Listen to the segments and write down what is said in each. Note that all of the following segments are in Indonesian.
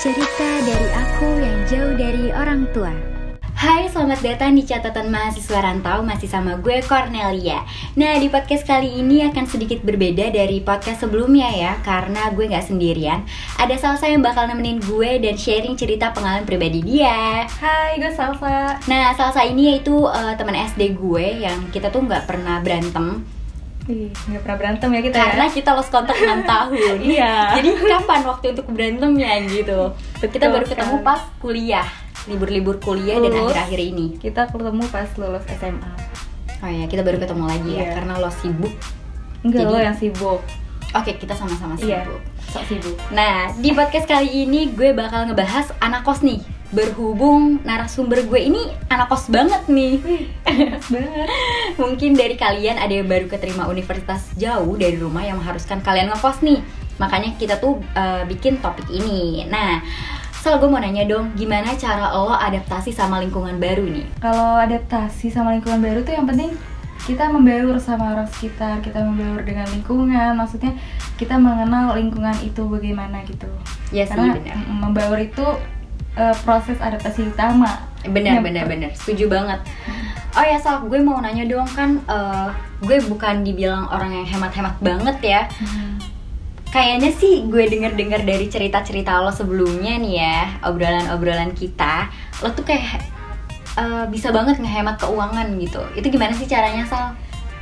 Cerita dari aku yang jauh dari orang tua. Hai, selamat datang di catatan mahasiswa rantau masih sama gue Cornelia. Nah, di podcast kali ini akan sedikit berbeda dari podcast sebelumnya ya, karena gue nggak sendirian. Ada Salsa yang bakal nemenin gue dan sharing cerita pengalaman pribadi dia. Hai, gue Salsa. Nah, Salsa ini yaitu eh, teman SD gue yang kita tuh nggak pernah berantem Ih, nggak pernah berantem ya kita karena ya? kita lost kontak 6 tahun. Iya. Jadi kapan waktu untuk berantemnya gitu? Betul kita baru ketemu sekali. pas kuliah, libur-libur kuliah dan Lulus. akhir-akhir ini. Kita ketemu pas lulus SMA. Oh ya, kita baru ketemu lagi ya Iya. karena lo sibuk. Enggak Jadi- lo yang sibuk. Oke, kita sama-sama sibuk. Iya. Sok sibuk. Nah, di podcast kali ini gue bakal ngebahas anak kos nih. Berhubung narasumber gue ini anak kos banget nih. Pas banget. Mungkin dari kalian ada yang baru keterima universitas jauh dari rumah yang mengharuskan kalian ngekos nih. Makanya kita tuh eh, bikin topik ini. Nah, Sal gue mau nanya dong, gimana cara lo adaptasi sama lingkungan baru nih? Kalau adaptasi sama lingkungan baru tuh yang penting kita membaur sama orang sekitar, kita membaur dengan lingkungan. Maksudnya kita mengenal lingkungan itu bagaimana gitu. Ya sih, Karena benar. mm, membaur itu eh, proses adaptasi utama. Ya. benar Yang benar benar setuju banget oh ya Sal gue mau nanya dong kan eh, gue bukan dibilang orang yang hemat-hemat banget ya Hmm. kayaknya sih gue denger-dengar dari cerita-cerita lo sebelumnya nih ya obrolan-obrolan kita lo tuh kayak eh, bisa banget ngehemat keuangan gitu itu gimana sih caranya Sal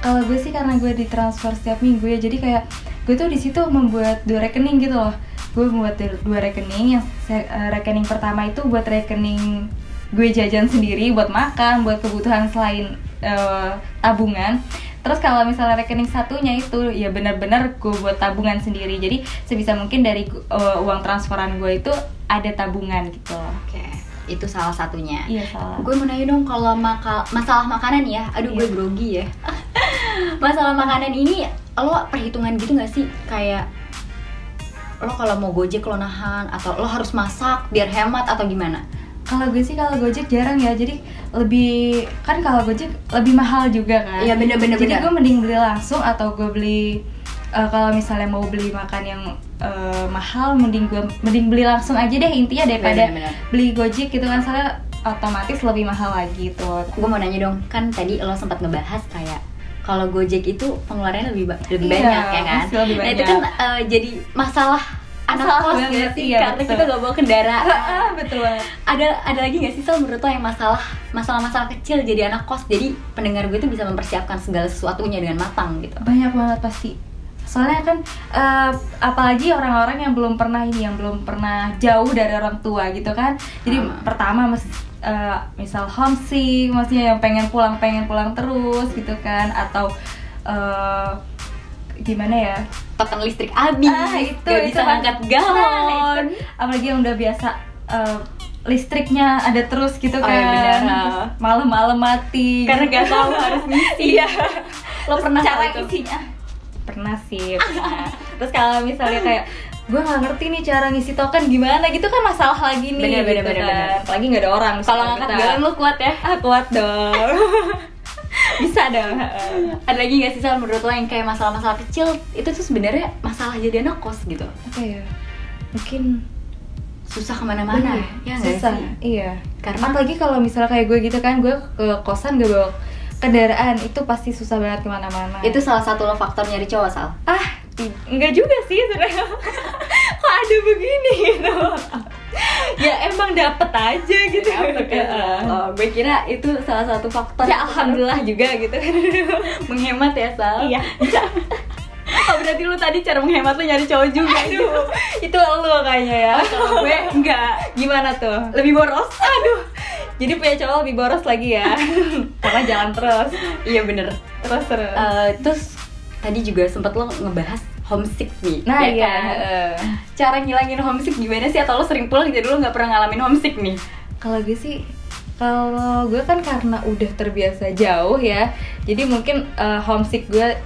Kalau gue sih karena gue ditransfer setiap minggu ya, jadi kayak gue tuh di situ membuat dua rekening gitu loh. Gue membuat du- dua rekening, yang se- eh, rekening pertama itu buat rekening gue jajan sendiri, buat makan, buat kebutuhan selain eh, tabungan. Terus kalau misalnya rekening satunya itu ya benar-benar gue buat tabungan sendiri. Jadi sebisa mungkin dari gu- eh, uang transferan gue itu ada tabungan gitu. loh. oke itu salah satunya Iya salah. Gue mau nanya dong kalau maka- masalah makanan ya, aduh gue Iya. grogi ya. masalah makanan ini lo perhitungan gitu nggak sih kayak lo kalau mau gojek lo nahan atau lo harus masak biar hemat atau gimana? Kalau gue sih kalau Gojek jarang ya. Jadi lebih kan kalau Gojek lebih mahal juga kan. Iya, bener-bener, Jadi bener. gue mending beli langsung atau gue beli eh, kalau misalnya mau beli makan yang eh, mahal mending gue mending beli langsung aja deh intinya daripada Bener-bener. beli Gojek gitu kan soalnya otomatis lebih mahal lagi tuh. Gue mau nanya dong, kan tadi lo sempat ngebahas kayak kalau gojek itu pengeluarannya lebih ba- lebih Iya, banyak ya kan? pasti lebih Nah itu kan eh, jadi masalah anak Masalah kos banget, gak sih? iya, Karena betul. kita gak bawa kendaraan. Ah, betul banget. ada ada lagi nggak sih Sal menurut lo yang masalah masalah masalah kecil jadi anak kos jadi pendengar gue tuh bisa mempersiapkan segala sesuatunya dengan matang gitu banyak banget pasti soalnya kan eh, apalagi orang-orang yang belum pernah ini yang belum pernah jauh dari orang tua gitu kan jadi Hmm. pertama mas, eh, misal homesick maksudnya yang pengen pulang pengen pulang terus gitu kan atau eh, gimana ya token listrik habis nggak bisa kan. angkat Nah, galon itu. apalagi yang udah biasa eh, listriknya ada terus gitu Oh, kan iya, benar. Terus malam-malam mati karena gitu. gak tahu harus ngisi Iya. lo pernah cara tahu itu? isinya pernah sih pernah. terus kalau misalnya kayak gue nggak ngerti nih cara ngisi token gimana gitu kan masalah lagi nih Bener, bener, gitu bener, kan. bener. apalagi nggak ada orang kalau ngangkat galon lo kuat ya ah, kuat dong bisa dong ada lagi nggak sih Sal menurut lo yang kayak masalah-masalah kecil itu tuh sebenarnya masalah jadi anak kos gitu apa ya mungkin susah kemana-mana ya nggak susah sih iya Karena- apalagi kalau misalnya kayak gue gitu kan gue ke kosan gak bawa kendaraan itu pasti susah banget kemana-mana itu salah satu lo faktor nyari cowok Sal ah ti- enggak juga sih sebenarnya kok ada begini gitu ya emang dapet aja gitu Ya, Oh, gue kira itu salah satu faktor ya alhamdulillah juga gitu menghemat ya Sal iya Oh, berarti lu tadi cara menghemat lu nyari cowok juga gitu. aduh itu lo kayaknya ya Kalau gue enggak gimana tuh lebih boros aduh jadi punya cowok lebih boros lagi ya karena jalan terus iya bener terus terus Eh, terus tadi juga sempet lo ngebahas homesick nih nah ya iya kan? eh. cara ngilangin homesick gimana sih atau lo sering pulang jadi lo nggak pernah ngalamin homesick nih kalau gue sih kalau gue kan karena udah terbiasa jauh ya jadi mungkin eh, homesick gue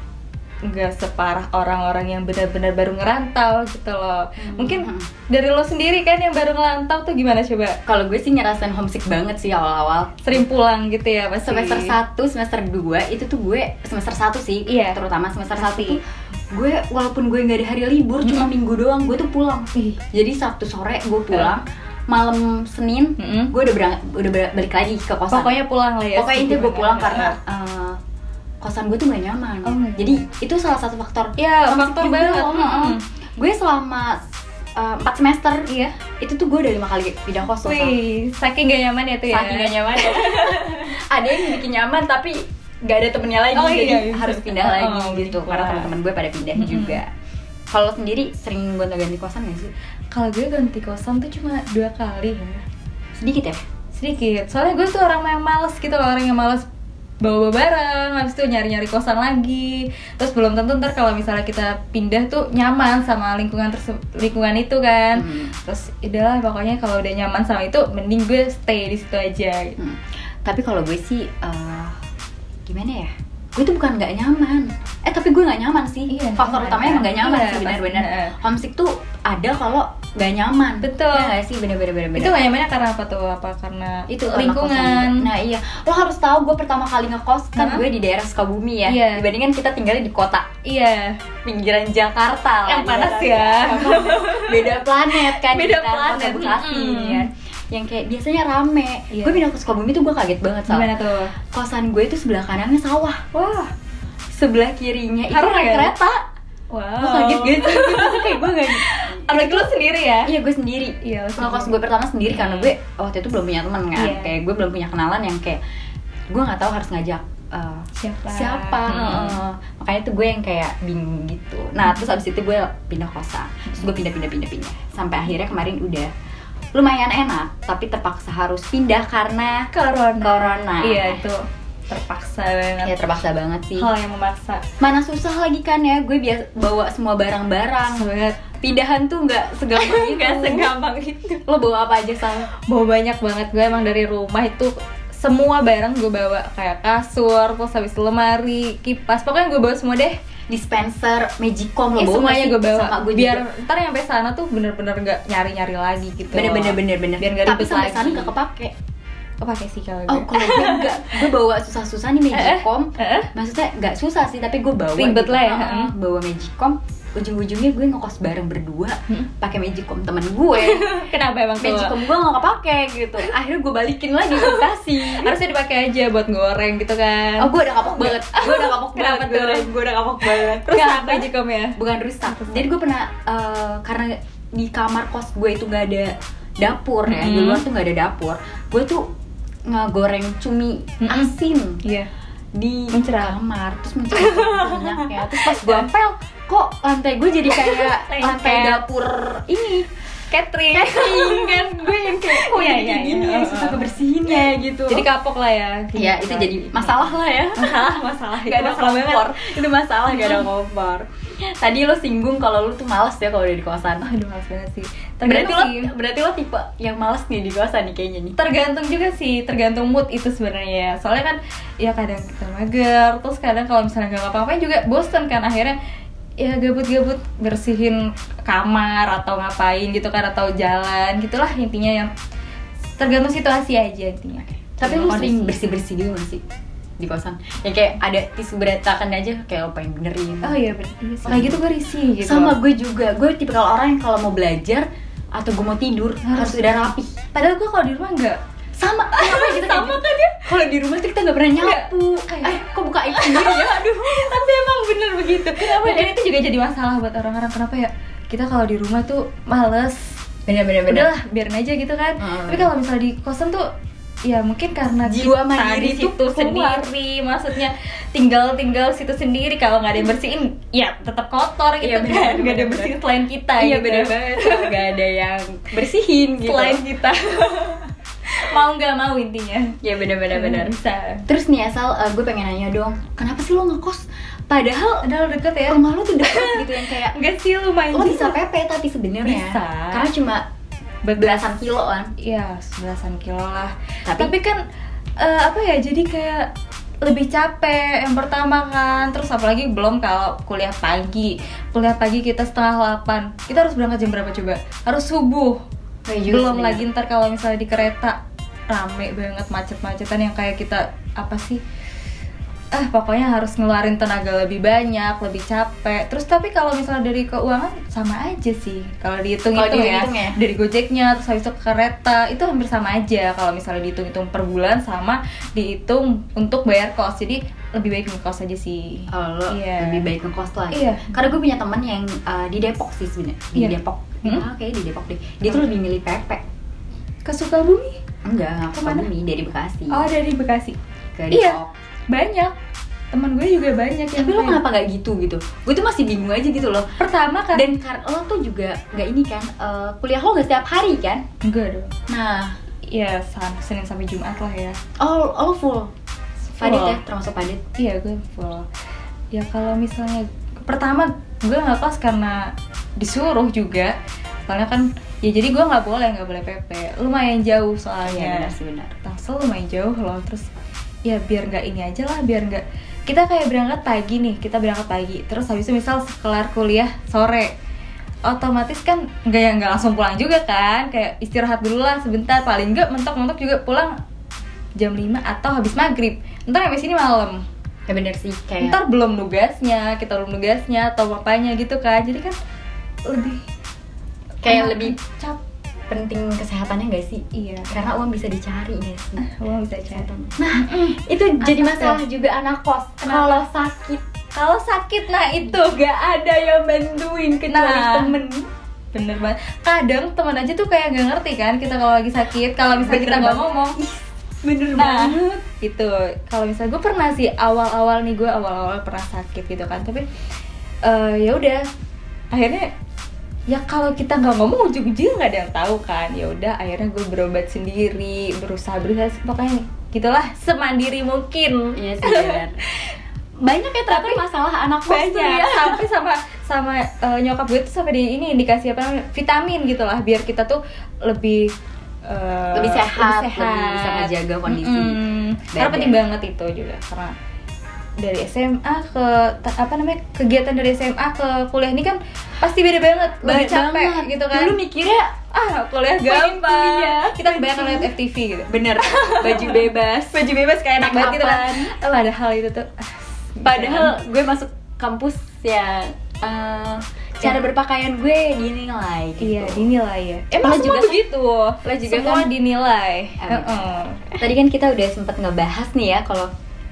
nggak separah orang-orang yang benar-benar baru ngerantau gitu loh mungkin Hmm. dari lo sendiri kan yang baru ngerantau tuh gimana coba kalau gue sih ngerasain homesick banget sih awal-awal sering pulang gitu ya pasti semester 1, semester 2 itu tuh gue semester 1 sih Iya. terutama semester 1 Pasti. tuh gue walaupun gue nggak ada hari libur cuma minggu doang gue tuh pulang Ih. jadi sabtu sore gue pulang malam senin Mm-mm. gue udah berang- udah ber- balik lagi ke kosan Pokoknya pulang lah ya. pokoknya intinya gue pulang karena eh, kosan gue tuh gak nyaman Oh my God. jadi itu salah satu faktor Ya, Toxic faktor juga, banget. heeh. Mm-mm. gue selama eh, empat semester Iya. itu tuh gue udah lima kali pindah kos loh, Sal. Wih, saking gak nyaman ya tuh ya. saking gak nyaman ya ada yang bikin nyaman tapi gak ada temennya lagi Oh, jadi iya, iya. harus pindah Oh, lagi oh, gitu gitu. karena teman-teman gue pada pindah Mm-mm. juga kalau lo sendiri sering gonta-ganti kosan gak sih Kalau gue ganti kosan tuh cuma dua kali ya. sedikit ya sedikit soalnya gue tuh orang yang males gitu loh orang yang males bawa-bawa barang habis itu nyari-nyari kosan lagi terus belum tentu ntar kalau misalnya kita pindah tuh nyaman sama lingkungan terse- lingkungan itu kan Hmm. terus udahlah pokoknya kalau udah nyaman sama itu mending gue stay di situ aja gitu. Hmm. Tapi kalau gue sih eh, gimana ya? Gue tuh bukan nggak nyaman. Eh tapi gue nggak nyaman sih. Iya, Faktor nyaman. utamanya emang nggak nyaman Iya, sih pasti. benar-benar. Heeh. Homesick tuh ada kalau nggak nyaman. Betul. Iya nggak sih benar-benar benar. itu gak nyamannya karena apa tuh apa karena itu karena lingkungan kosan gue. Nah iya, lo harus tahu gue pertama kali ngekos kan Hah? gue di daerah Sukabumi ya. Iya. Dibandingkan kita tinggalnya di kota iya pinggiran Jakarta lah, Yang panas kan? ya. Yang panas. beda planet kan Beda kita, kota planet, Bekasi mm-mm. ya. yang kayak biasanya rame Iya. gue pindah ke Sukabumi tuh gue kaget banget Sal. gimana tuh kosan gue itu sebelah kanannya sawah wah sebelah kirinya itu Oh, Harum rel ya? kereta wow gue kaget gak gitu. sih Itu kayak gue gak apalagi lo sendiri ya iya gue sendiri Iya, lo sendiri. ngekos gue pertama sendiri karena gue waktu itu belum punya teman kan Iya. kayak gue belum punya kenalan yang kayak gue nggak tahu harus ngajak eh, siapa siapa Hmm. Heeh. makanya tuh gue yang kayak bingung gitu nah terus abis itu gue pindah kosan terus gue pindah pindah pindah pindah sampai akhirnya kemarin udah lumayan enak tapi terpaksa harus pindah karena corona Corona. iya itu terpaksa banget ya terpaksa banget sih hal yang memaksa mana susah lagi kan ya gue biasa bawa semua barang-barang banget pindahan tuh nggak segampang itu nggak segampang itu lo bawa apa aja sal bawa banyak banget gue emang dari rumah itu semua barang gue bawa kayak kasur terus habis itu lemari kipas pokoknya gue bawa semua deh dispenser magicom lo Ih, bawa Ya, semuanya nggak sih? gue bawa sama gue biar juga. ntar nyampe sana tuh bener-bener nggak nyari-nyari lagi gitu bener bener bener bener Biar tapi nggak ribet sampai lagi. sana nggak kepake pakai sih kalau oh gue kalau gue nggak gue bawa susah-susah nih magicom Eh, eh. maksudnya nggak susah sih tapi gue bawa gitu. Ribet lah ya, Heeh, heeh. bawa magicom ujung-ujungnya gue ngekos bareng berdua Mm. pakai magicom temen gue kenapa emang tuh magicom gue nggak kepake gitu akhirnya gue balikin lagi ke kasih harusnya dipakai aja buat goreng gitu kan Oh, gue udah kapok banget. Gue udah kapok Kenapa banget. Gue tuh? udah, gue udah kapok banget. terus Nggak, apa aja kom ya Bukan rusak. Jadi gue pernah eh, karena di kamar kos gue itu nggak ada dapur ya. Di Mhm. luar tuh nggak ada dapur. Gue tuh ngegoreng cumi Mhm. asin iya di Mencerah. kamar terus mencerah minyak ya. Terus pas gue pel, kok lantai gue jadi kayak Lengket. lantai dapur ini catering kan gue yang kayak kok Iya, jadi iya, kayak iya. gini ya, Oh, susah oh. kebersihinnya gitu jadi kapok lah ya ya itu jadi masalah lah ya masalah masalah Gak ada kompor, itu masalah gak ada kompor Tadi lo singgung kalau lo tuh males ya kalau udah di kosan aduh males banget sih Berarti tergantung lo, sih berarti lo tipe yang males nih di kosan nih kayaknya nih tergantung juga sih tergantung mood itu sebenarnya soalnya kan ya kadang kita mager terus kadang kalau misalnya nggak ngapa-ngapain juga bosen kan akhirnya ya gabut-gabut bersihin kamar atau ngapain gitu kan atau jalan gitulah intinya yang tergantung situasi aja intinya Tapi lo Kondisi. sering bersih-bersih gitu gak sih? Di kosan Yang kayak ada tisu berantakan aja kayak lo pengen benerin oh iya bener iya sih. kayak gitu gue risih gitu Sama gue juga, gue tipe kalau orang yang kalau mau belajar atau gue mau tidur harus, Harus. udah rapi padahal gue kalau di rumah nggak sama sama gitu Sama kan ya kalau di rumah tuh kita nggak pernah nyapu Kayak- eh kok buka itu sendiri ya aduh tapi emang bener begitu kenapa dan itu juga jadi masalah buat orang-orang kenapa ya kita kalau di rumah tuh males bener Iya, bener bener udahlah biarin aja gitu kan Hmm. tapi kalau misalnya di kosan tuh ya mungkin karena Jiwa kita mandiri di tuh situ keluar. sendiri maksudnya tinggal tinggal situ sendiri kalau nggak ada yang bersihin ya tetap kotor gitu Iya, bener, kan nggak ada yang bener, bersihin selain kita iya gitu. bener banget nggak ada yang bersihin gitu selain kita mau nggak mau intinya ya bener bener bener bisa terus nih asal eh, gue pengen nanya dong kenapa sih lo ngekos padahal padahal deket ya Oh, rumah lo tuh deket gitu yang kayak enggak sih lumayan lo bisa juga. kan. PP tapi sebenarnya Bisa. karena cuma belasan kilo kan ya sebelasan kilo lah Tapi- tapi, kan eh, apa ya jadi kayak lebih capek yang pertama kan terus apalagi belum kalau kuliah pagi kuliah pagi kita setengah delapan kita harus berangkat jam berapa coba harus subuh Kayak Iya juga belum sebenarnya. lagi ntar kalau misalnya di kereta rame banget macet-macetan yang kayak kita apa sih ah pokoknya harus ngeluarin tenaga lebih banyak, lebih capek. Terus tapi kalau misalnya dari keuangan sama aja sih. Kalau dihitung itu Kalau ya, dihitung ya. dari Gojeknya terus habis itu ke kereta itu hampir sama aja kalau misalnya dihitung-hitung per bulan sama dihitung untuk bayar kos. Jadi lebih baik ngekos aja sih. Oh, lo Iya. lebih baik ngekos lah. Iya. Karena gue punya temen yang uh, di Depok sih sebenarnya. Di Iya. Depok. Hmm? Ah, kayaknya di Depok deh. Dia tuh lebih milih pepek. Ke Sukabumi? Enggak, nggak ke Kemana? Sukabumi, dari Bekasi. Oh, dari Bekasi. ke Depok. iya. Banyak. Teman gue juga banyak yang Tapi lo kayak- kenapa nggak gitu gitu? Gue tuh masih bingung aja gitu loh. pertama kan Dan kar lo tuh juga nggak ini kan, uh, kuliah lo nggak setiap hari kan? enggak dong. Nah, Iya, sam- Senin sampai Jumat lah ya. oh lo full. Padet Full. ya, termasuk padet. Iya gue full. Ya kalau misalnya pertama gue nggak pas karena disuruh juga. Soalnya kan ya jadi gue nggak boleh nggak boleh PP. Lumayan jauh Oh iya, soalnya. benar sih benar. Tangsel lumayan jauh loh. Terus ya biar nggak ini aja lah biar nggak kita kayak berangkat pagi nih kita berangkat pagi terus habis itu misal kelar kuliah sore otomatis kan nggak ya nggak langsung pulang juga kan kayak istirahat dulu lah sebentar paling nggak mentok-mentok juga pulang jam 5 atau habis maghrib ntar habis ini malam Ya benar sih kayak. ntar belum nugasnya kita belum nugasnya atau apanya gitu kan jadi kan lebih Kayak enak, lebih cap penting kesehatannya nggak sih? iya Karena uang bisa dicari nggak sih? uang bisa cari Nah, itu jadi Anak masalah juga anak kos. Kalau sakit kalau sakit nah itu gak ada yang bantuin kecuali Nah. temen. bener banget kadang teman aja tuh kayak gak ngerti kan kita kalau lagi sakit kalau misalnya Bener kita nggak banget. Iya ngomong Bener nah gitu kalau misalnya gue pernah sih awal-awal nih gue awal-awal pernah sakit gitu kan tapi eh, ya udah akhirnya ya kalau kita nggak ngomong ujung-ujungnya nggak ada yang tahu kan ya udah akhirnya gue berobat sendiri berusaha berusaha pokoknya gitulah semandiri mungkin Iya sih benar. Banyak ya ternyata masalah anak kos tuh banyak ya. sampai sama sama eh, nyokap gue tuh sampai di ini dikasih apa namanya vitamin gitulah biar kita tuh lebih eh, Lebih sehat, lebih sehat. lebih bisa menjaga kondisi Mm-mm. karena badan. penting banget itu juga karena dari SMA ke ta- apa namanya kegiatan dari SMA ke kuliah ini kan pasti beda banget lebih Banyak capek banget. gitu kan Dulu iya. mikirnya ah kuliah pengen gampang kuliah, kita kan kebanyakan lihat FTV gitu bener baju bebas. baju bebas kayak enak banget gitu kan Make-upan. padahal itu tuh ah, Padahal gue masuk kampus ya eh, cara berpakaian gue dinilai gitu. Iya dinilai ya. Emang Lo semua juga kan- begitu. lo juga semua kan- dinilai. Ah, Heeh. Tadi kan kita udah sempet ngebahas nih ya kalau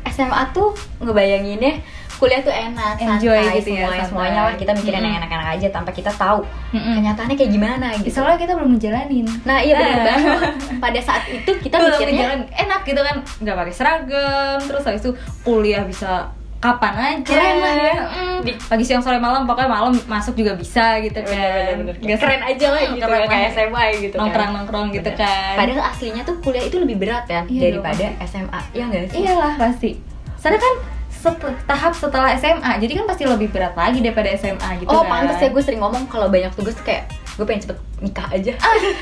SMA tuh ngebayanginnya kuliah tuh enak, Enjoy santai, gitu ya, semuanya, santai. semuanya lah kita mikirin Mm-mm. yang enak-enak aja tanpa kita tahu Mm-mm. kenyataannya kayak gimana gitu. Soalnya kita belum ngejalanin. Nah iya benar Ah. banget. Pada saat itu kita belum mikirnya ngejalan enak gitu kan, nggak pakai seragam, terus habis itu kuliah bisa kapan aja. Keren lah ya. Mm. Di- Pagi siang sore malam pokoknya malam masuk juga bisa gitu kan. bener-bener Nggak keren aja lah Hmm, gitu keren kan, kayak banget. SMA gitu kan. nongkrong nongkrong gitu Bener. kan. Padahal aslinya tuh kuliah itu lebih berat ya Iya daripada SMA. Iya enggak sih? Iyalah pasti. Soalnya kan set- tahap setelah SMA, jadi kan pasti lebih berat lagi daripada SMA gitu oh, kan. pantas ya gue sering ngomong kalau banyak tugas tuh kayak gue pengen cepet nikah aja.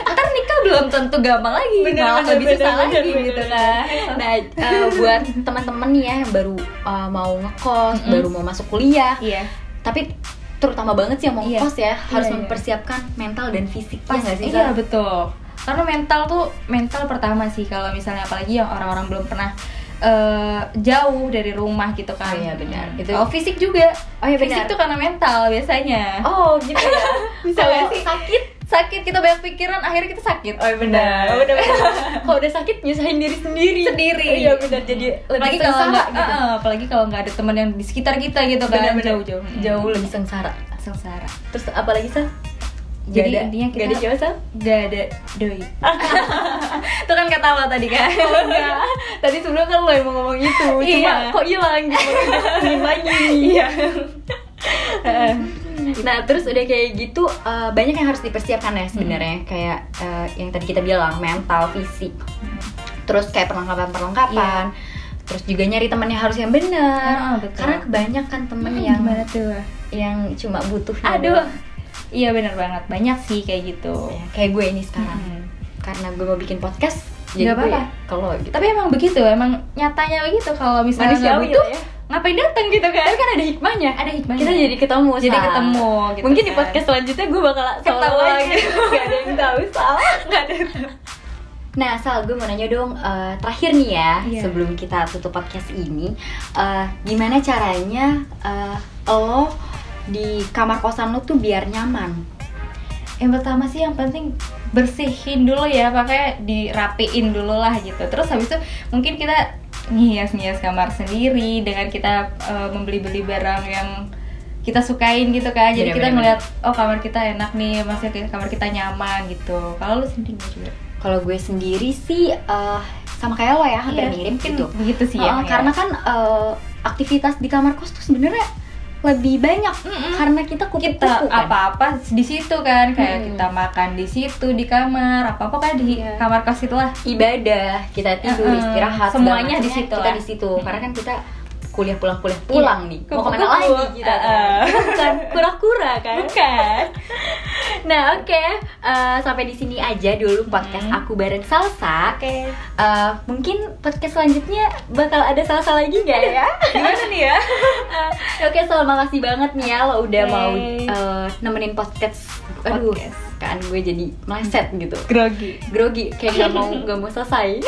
ntar nikah belum tentu gampang lagi Bener, malah bener, lebih susah bener, lagi bener, gitu bener. kan Nah, eh, buat teman-teman nih ya yang baru eh, mau ngekos, Mm-mm. baru mau masuk kuliah, iya tapi terutama banget sih yang mau Iya. ngekos ya harus Iya, iya. mempersiapkan mental dan fisik ya pas nggak sih? iya Sar? betul karena mental tuh mental pertama sih kalau misalnya apalagi yang orang-orang belum pernah eh, jauh dari rumah gitu kan Oh iya, benar. Itu- oh fisik juga Oh iya, fisik benar. tuh karena mental biasanya Oh gitu ya. Bisa Kalau nggak sih? sakit? sakit kita banyak pikiran akhirnya kita sakit Nah, Oh benar. Udah benar. Kalau udah sakit nyusahin diri sendiri. sendiri Iya benar. Jadi apalagi lebih kalau sengsara nggak gitu. eh, eh, apalagi kalau nggak ada teman yang di sekitar kita gitu kan Benar-benar. jauh-jauh Jauh lebih sengsara. sengsara Terus apalagi sih? Jadi intinya kita- gak ada siapa Sal? gak ada doi itu kan kata lo tadi kan Tadi sebelum kan lo yang mau ngomong itu, Iya. cuma kok hilang gitu, Ngomongin lagi. iya Nah terus udah kayak gitu eh, banyak yang harus dipersiapkan ya sebenarnya kayak eh, yang tadi kita bilang mental, fisik, terus kayak perlengkapan-perlengkapan, terus juga nyari temennya harus yang Ah, benar. betul. Karena kebanyakan temen yang yang gimana tuh yang cuma butuh. yang- aduh iya benar banget banyak sih kayak gitu Ya, kayak gue ini sekarang Mm-mm. karena gue mau bikin podcast. Nggak gue apa-apa. ya Kalau gitu. tapi emang begitu emang nyatanya begitu kalau misalnya nggak Manusiawi butuh lah ya. ngapain datang gitu kan Tapi kan ada hikmahnya. ada hikmahnya Kita jadi ketemu. Jadi Sal. ketemu, gitu Mungkin di kan. podcast selanjutnya gue bakal salah Ketawa lagi. lagi. Gak ada yang tahu salah. nggak ada Nah, Sal, gue mau nanya dong, eh, terakhir nih ya, Iya. sebelum kita tutup podcast ini, eh, gimana caranya eh, lo di kamar kosan lo tuh biar nyaman? yang pertama sih yang penting bersihin dulu ya pakai dirapiin dulu lah gitu terus habis itu mungkin kita ngias-ngias kamar sendiri dengan kita eh, membeli-beli barang yang kita sukain gitu kan jadi kita Bener-bener. ngeliat oh kamar kita enak nih maksudnya kamar kita nyaman gitu kalau lu sendiri gimana juga Kalau gue sendiri sih eh, sama kayak lo ya, hampir Iya, mirip mungkin gitu. begitu sih ya, Oh, ya. Karena kan eh, aktivitas di kamar kos tuh sebenarnya lebih banyak Mm-mm. karena kita kupu-kupu kita kan. apa-apa di situ kan kayak Hmm. kita makan di situ di kamar apa-apa kan di Iya. kamar kos itulah ibadah kita tidur Mm-mm. istirahat segala Semuanya di macamnya situ kita lah. di situ Mm. karena kan kita kuliah pulang kuliah pulang Iya. nih mau kemana Kupu-kupu. lagi kita kan? Uh-uh. Kita bukan kura-kura kan bukan nah oke eh, sampai di sini aja dulu podcast Hmm. aku bareng salsa oke Eh, mungkin podcast selanjutnya bakal ada salsa lagi nggak ya gimana nih ya Eh, oke Sal makasih banget nih ya lo udah mau Yeay. eh, nemenin podcast aduh Podcast. kan gue jadi meleset gitu grogi grogi kayak nggak mau nggak mau selesai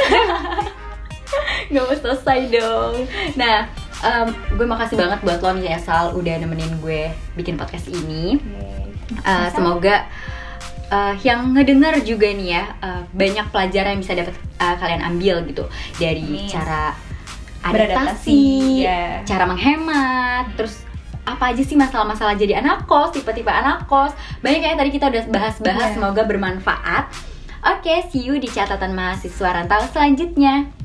nggak mau selesai dong nah em, gue makasih banget buat lo nih Esal udah nemenin gue bikin podcast ini Eh, semoga eh, yang ngedengar juga nih ya eh, banyak pelajaran yang bisa dapat eh, kalian ambil gitu dari Amin. cara Beradaptasi, adaptasi, ya. cara menghemat, terus apa aja sih masalah-masalah jadi anak kos, tipe-tipe anak kos. Banyak ya tadi kita udah bahas-bahas, Ya. semoga bermanfaat. Oke, see you di catatan mahasiswa rantau selanjutnya.